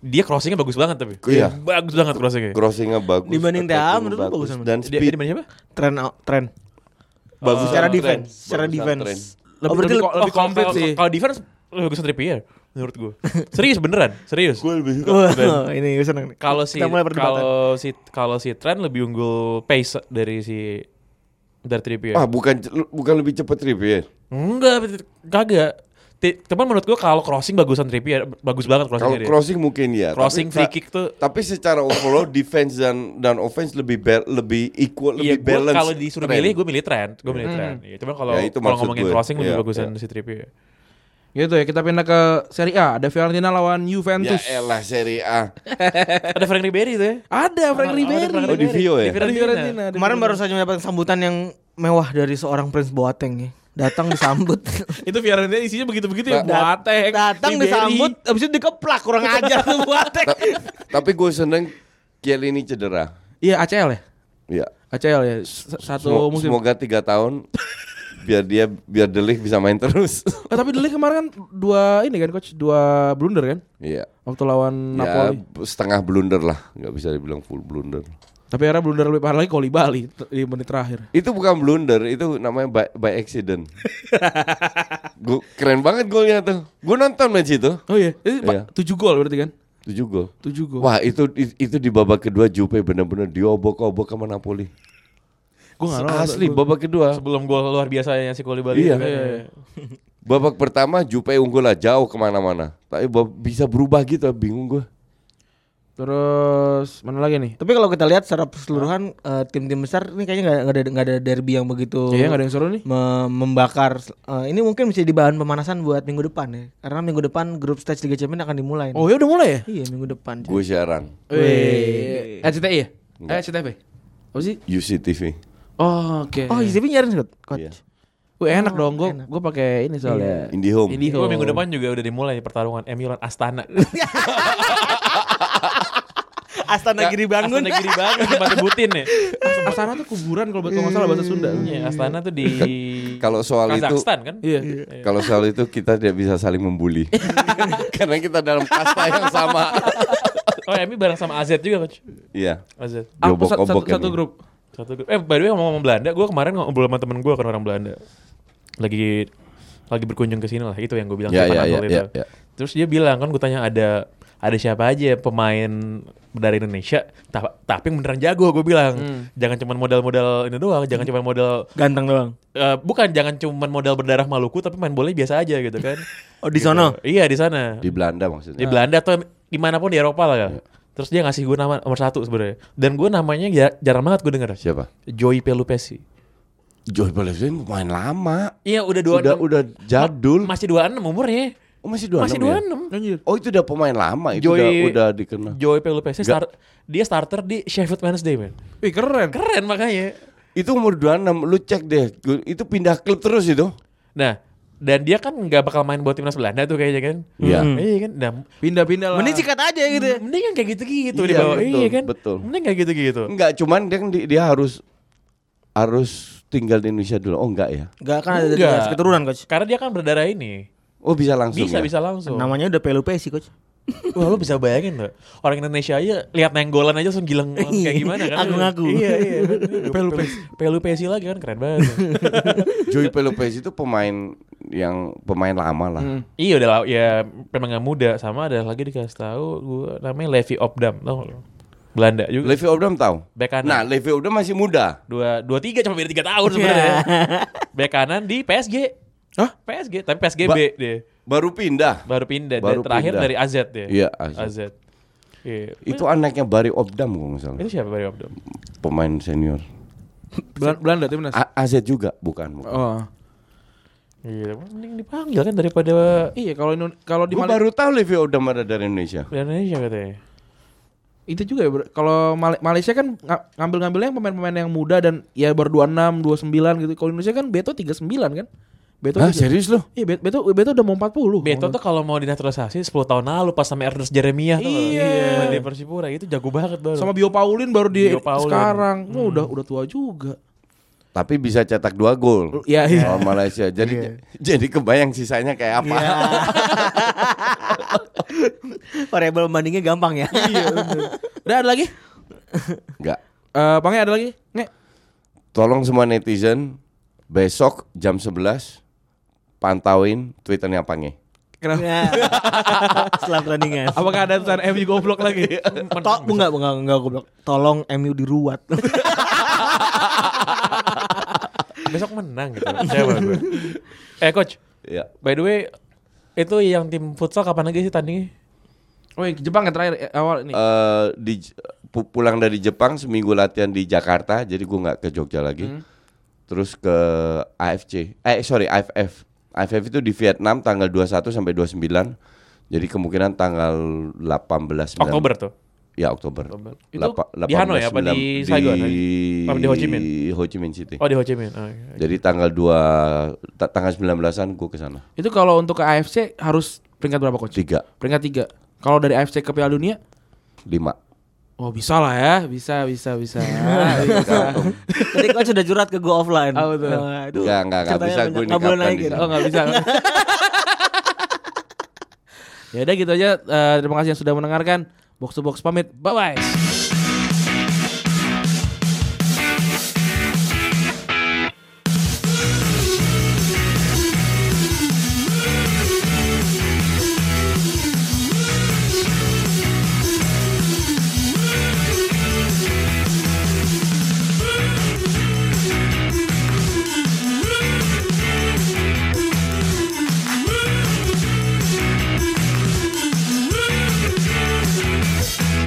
A: Dia crossingnya bagus banget tapi.
C: Iya.
A: Bagus banget crossingnya.
C: Crossingnya bagus.
B: Dibanding
C: attacking
B: TA, menurut lu bagusan mana?
C: dan
A: Dia, dia
C: speed.
A: dimana siapa?
B: Tren oh, tren.
C: Bagus
B: secara
C: sama
B: defense,
C: tren.
B: secara
C: Bagus sama
B: defense.
C: tren.
D: Lebih-
B: berarti
D: lebih
B: lebih-
D: ko-
A: Oh, kalau-
D: komplit
A: kalau-
D: sih.
A: Kalau defense lebih bagus Trippier menurut gue. Serius beneran, serius.
C: Gue lebih suka.
B: Wah, ini gue seneng nih.
A: Kalau si
B: Kita mulai perdebatan.
A: kalau si kalau si Trent lebih unggul pace dari si dari iya.
B: Iya.
A: Trippier.
C: Ah, bukan bukan lebih ya. cepat Trippier.
A: Enggak, kagak. Ti- Cuman menurut gua kalau crossing bagusan Trippier, bagus banget
C: Kalau
A: crossingnya dia.
C: crossing mungkin ya.
A: Crossing,
C: tapi-
A: free kick tuh-
C: Tapi secara overall defense dan dan offense lebih ba- lebih equal,
A: Iya,
C: lebih
A: gua
C: balance.
A: kalau disuruh
C: Tren.
A: milih, gue milih Trent, gue milih Trent. Iya, cuman kalau
C: Ya, itu
A: kalau
C: maksud
A: ngomongin
C: gue.
A: crossing lebih
C: Iya,
A: bagusan si Trippier.
D: Gitu ya kita pindah ke Serie A. Ada Fiorentina lawan
C: Ya
D: Juventus.
C: elah Serie A.
A: Ada Frank Ribery tuh ya.
D: Ada Frank
A: Oh, ada
D: Ribery.
A: Frank
C: Oh, di Vio ya?
A: Di Fiorentina.
D: Fiorentina, ada
B: Kemarin
D: Fiorentina.
B: baru saja mendapatkan sambutan yang mewah dari seorang Prince Boateng ya. Datang disambut.
D: itu Fiorentina isinya begitu-begitu ya.
B: Dat-
D: Boateng,
B: Datang
D: Ribery.
B: disambut, abis itu dikeplak kurang ajar tuh Boateng.
C: Ta- tapi gue seneng Chiellini cedera.
D: Iya ACL ya.
C: Ya.
D: ACL ya. S- Satu
C: Semo-
D: musim.
C: Semoga tiga tahun biar dia biar Delik bisa main terus.
D: Eh, tapi Dele kemarin kan dua ini kan coach, dua blunder kan
C: Iya.
D: waktu lawan
C: Ya,
D: Napoli.
C: setengah blunder lah, nggak bisa dibilang full blunder.
D: Tapi akhirnya blunder lebih parah lagi Koli Bali di menit terakhir.
C: Itu bukan blunder, itu namanya by, by accident. Gu- keren banget golnya tuh. Gue nonton match itu,
D: Oh iya, itu
C: Iya.
D: Pak, tujuh gol berarti kan?
C: 7 gol.
D: Tujuh gol.
C: Wah, itu i- itu di babak kedua Jupe bener-bener diobok-obok sama Napoli.
D: gua nggak nonton.
C: Asli
D: Gua-
C: babak kedua.
A: Sebelum gol luar biasanya si Koulibaly.
C: Iya.
A: itu kan,
C: Iya, Babak pertama Jupe unggul lah jauh kemana-mana. Tapi bab- bisa berubah gitu, bingung gue.
D: Terus mana lagi nih?
B: Tapi kalau kita lihat secara keseluruhan eh, tim-tim besar ini kayaknya nggak nggak ada nggak ada derby yang
C: Oh.
B: begitu
D: Iya, nggak ada yang seru nih.
B: me- membakar. Eh, ini mungkin bisa di bahan pemanasan buat minggu depan ya. Karena minggu depan grup stage Liga Champions akan dimulai. nih.
D: Oh ya udah mulai ya?
B: Iya minggu depan.
C: Gue siaran
D: Eh, RCTI ya?
C: Nggak.
D: Eh, RCTP. Apa sih?
C: UCTV.
D: Oh, oke.
B: Oh, ICB nyarin Scott. Coach.
C: Iya.
D: Wih, enak dong. Gue gue pakai ini soalnya.
C: Indihome.
A: Gue
D: Indihome.
A: minggu depan juga udah dimulai pertarungan MU lawan Astana.
B: Astana Giri bangun.
A: Astana Giri bangun tempat Butin ya.
D: Astana tuh kuburan kalau kalau nggak salah bahasa Sunda.
A: Iya, Astana tuh di
C: Kalau soal itu
A: Kazakhstan kan?
D: Iya.
C: Kalau soal itu kita tidak bisa saling membuli Karena kita dalam kasta yang sama
A: Oh, MU bareng sama AZ juga, coach.
C: Iya
A: AZ.
D: Apa satu,
C: Diobok-obok
D: satu,
C: kan
D: satu
C: ini.
D: grup?
A: Satu grup. Eh, by the way ngomong-ngomong Belanda, gue kemarin ngobrol sama temen gue kan orang Belanda. Lagi lagi berkunjung ke sini lah, itu yang gue bilang
C: Ya,
A: di
C: ya,
A: Panadol
C: ya,
A: itu.
C: ya, ya.
A: Terus dia bilang kan gue tanya ada ada siapa aja ya pemain dari Indonesia ta- tapi yang beneran jago gue bilang. Jangan cuman modal-modal ini doang, jangan cuman modal
B: Ganteng doang.
A: eh, bukan jangan cuman modal berdarah Maluku tapi main bolanya biasa aja gitu kan.
B: Oh, di sono.
A: iya, di sana.
C: Di Iya.
A: Di
C: Belanda maksudnya
A: Belanda atau dimanapun di Eropa lah kan. Terus dia ngasih gue nama nomor satu sebenarnya. Dan gue namanya ya, jarang banget gue denger.
C: Siapa?
A: Joey Pelupesi.
C: Joy Balestrin pemain lama
A: Iya udah dua
C: Udah udah jadul
A: masih 26 umurnya.
C: Oh masih 26
A: Masih 26.
D: Anjir.
C: Oh itu udah pemain lama Itu
A: Joey-
C: udah, udah dikenal
A: Joey Pelupesi
C: Nggak.
A: start, dia starter di Sheffield Wednesday, man.
D: Wih, keren.
A: Keren makanya.
C: Itu umur 26 Lu cek deh Gu- Itu pindah klub terus itu
A: Nah, dan dia kan nggak bakal main buat timnas Belanda tuh kayaknya kan.
C: Iya.
A: Hmm. Iya kan. Nah,
D: Pindah-pindah lah.
B: Mending sikat aja gitu. ya.
A: mending kan kayak gitu-gitu
C: Iya,
A: di bawah.
C: betul,
A: iya kan.
C: betul.
A: Mending kayak gitu-gitu.
C: Enggak cuman dia, kan di- dia harus Harus tinggal di Indonesia dulu Oh enggak ya
B: Enggak kan ada dari
A: Nggak.
B: garis keturunan, Coach.
A: Karena dia kan berdarah ini.
C: Oh bisa langsung
A: Bisa
C: ya?
A: bisa langsung.
B: Namanya udah PLUP sih, Coach.
A: Wah lu bisa bayangin gak? Orang Indonesia aja lihat nenggolan aja langsung gilang langsung kayak gimana kan?
B: Aku-ngaku.
A: Iya iya. Pelupesi. Pelupesi lagi kan keren banget.
C: Joey Pelopes itu pemain yang pemain lama lah.
A: iya udah lah, ya memang gak muda sama ada lagi dikasih tahu gua namanya Levi Opdam tau gak lu? Belanda juga.
C: Levi Obram tahu?
A: Bek kanan.
C: Nah, Levi Obram masih muda.
A: dua dua tiga cuma beda tiga tahun sebenarnya. Bek kanan di PSG.
D: Hah?
A: PSG tapi PSG
C: Ba-
A: B dia
C: Baru pindah.
A: baru pindah Dan
C: Baru
A: terakhir
C: pindah.
A: dari AZ dia.
C: Iya, AZ.
A: Iya.
C: Itu anaknya Barry Obdam kalau nggak salah.
A: Itu siapa Barry Opdam?
C: Pemain senior.
D: Hmm. Belan- Belanda timnas.
C: A- AZ juga bukan. bukan.
D: Oh.
A: Iya, mending dipanggil kan daripada
D: Iya, kalau Indo- kalau di
C: Gua
D: Mali-
C: baru tahu Levi Obdam ada dari Indonesia.
A: Indonesia katanya.
D: itu juga ya bro. kalau Mal- Malaysia kan nga- ngambil-ngambilnya yang pemain-pemain yang muda dan ya baru 26, 29 gitu. Kalau Indonesia kan Beto 39 kan? Beto
C: Hah,
D: tiga-
C: serius lu?
D: Iya, Bet- Beto Beto udah mau 40.
A: Beto
D: Kalau-
A: tuh kalau mau dinaturalisasi 10 tahun lalu pas sama Ernest Jeremiah tuh.
D: Iya.
A: Di Persipura itu jago banget baru.
D: sama Bio Paulin Hmm. baru di
A: Bio Paulin.
D: sekarang. Wah, udah udah tua juga.
C: Tapi bisa cetak dua gol.
D: Iya, iya.
C: Lawan Malaysia. Jadi jadi kebayang sisanya kayak apa.
B: Variable bandingnya gampang ya.
D: Udah ada lagi?
C: Enggak.
D: Eh, Pange ada lagi? Nge.
C: Tolong semua netizen besok jam 11 pantauin twitternya Pange.
D: Kenapa?
B: Iya. Setelah pertandingan.
D: Apakah ada tulisan MU goblok lagi?
B: Tok enggak enggak enggak goblok. Tolong MU diruat.
A: Besok menang gitu. Percaya sama gue. Eh coach,
C: Ya.
A: by the way itu yang tim futsal kapan lagi sih tandingnya?
D: Oh, yang Jepang yang terakhir eh, awal ini.
C: Eh, di pu- pulang dari Jepang seminggu latihan di Jakarta, jadi gua nggak ke Jogja lagi. Terus ke AFC. Eh sorry, AFF. AFF itu di Vietnam tanggal 21 sampai 29. Jadi kemungkinan tanggal 18 19.
A: Oktober tuh.
C: Ya Oktober.
A: Oktober. Itu
C: Lapa-
A: di Hanoi apa di
C: 19,
A: Saigon? eh?
C: Di,
A: Apa di Ho Chi Minh?
C: Ho Chi Minh City.
A: Oh di Ho Chi Minh. Oh, iya.
C: Jadi tanggal 2 ta- tanggal 19-an gua ke sana.
D: Itu kalau untuk ke AFC harus peringkat berapa coach?
C: Tiga,
D: Peringkat 3. Kalau dari AFC ke Piala Dunia?
C: lima.
D: Oh, bisa lah ya. Bisa, bisa, bisa.
B: Tadi kan sudah curhat ke gue offline.
D: Oh, betul.
B: Nah, itu
C: Enggak, enggak, enggak
B: ceritanya
C: bisa
B: banyak.
C: gue
B: Nggak boleh
C: nikahkan
B: naik
C: di
B: gitu.
D: oh,
C: sana.
D: nggak bisa. ya udah gitu aja. Eh, terima kasih yang sudah mendengarkan. Box to box pamit. Bye bye.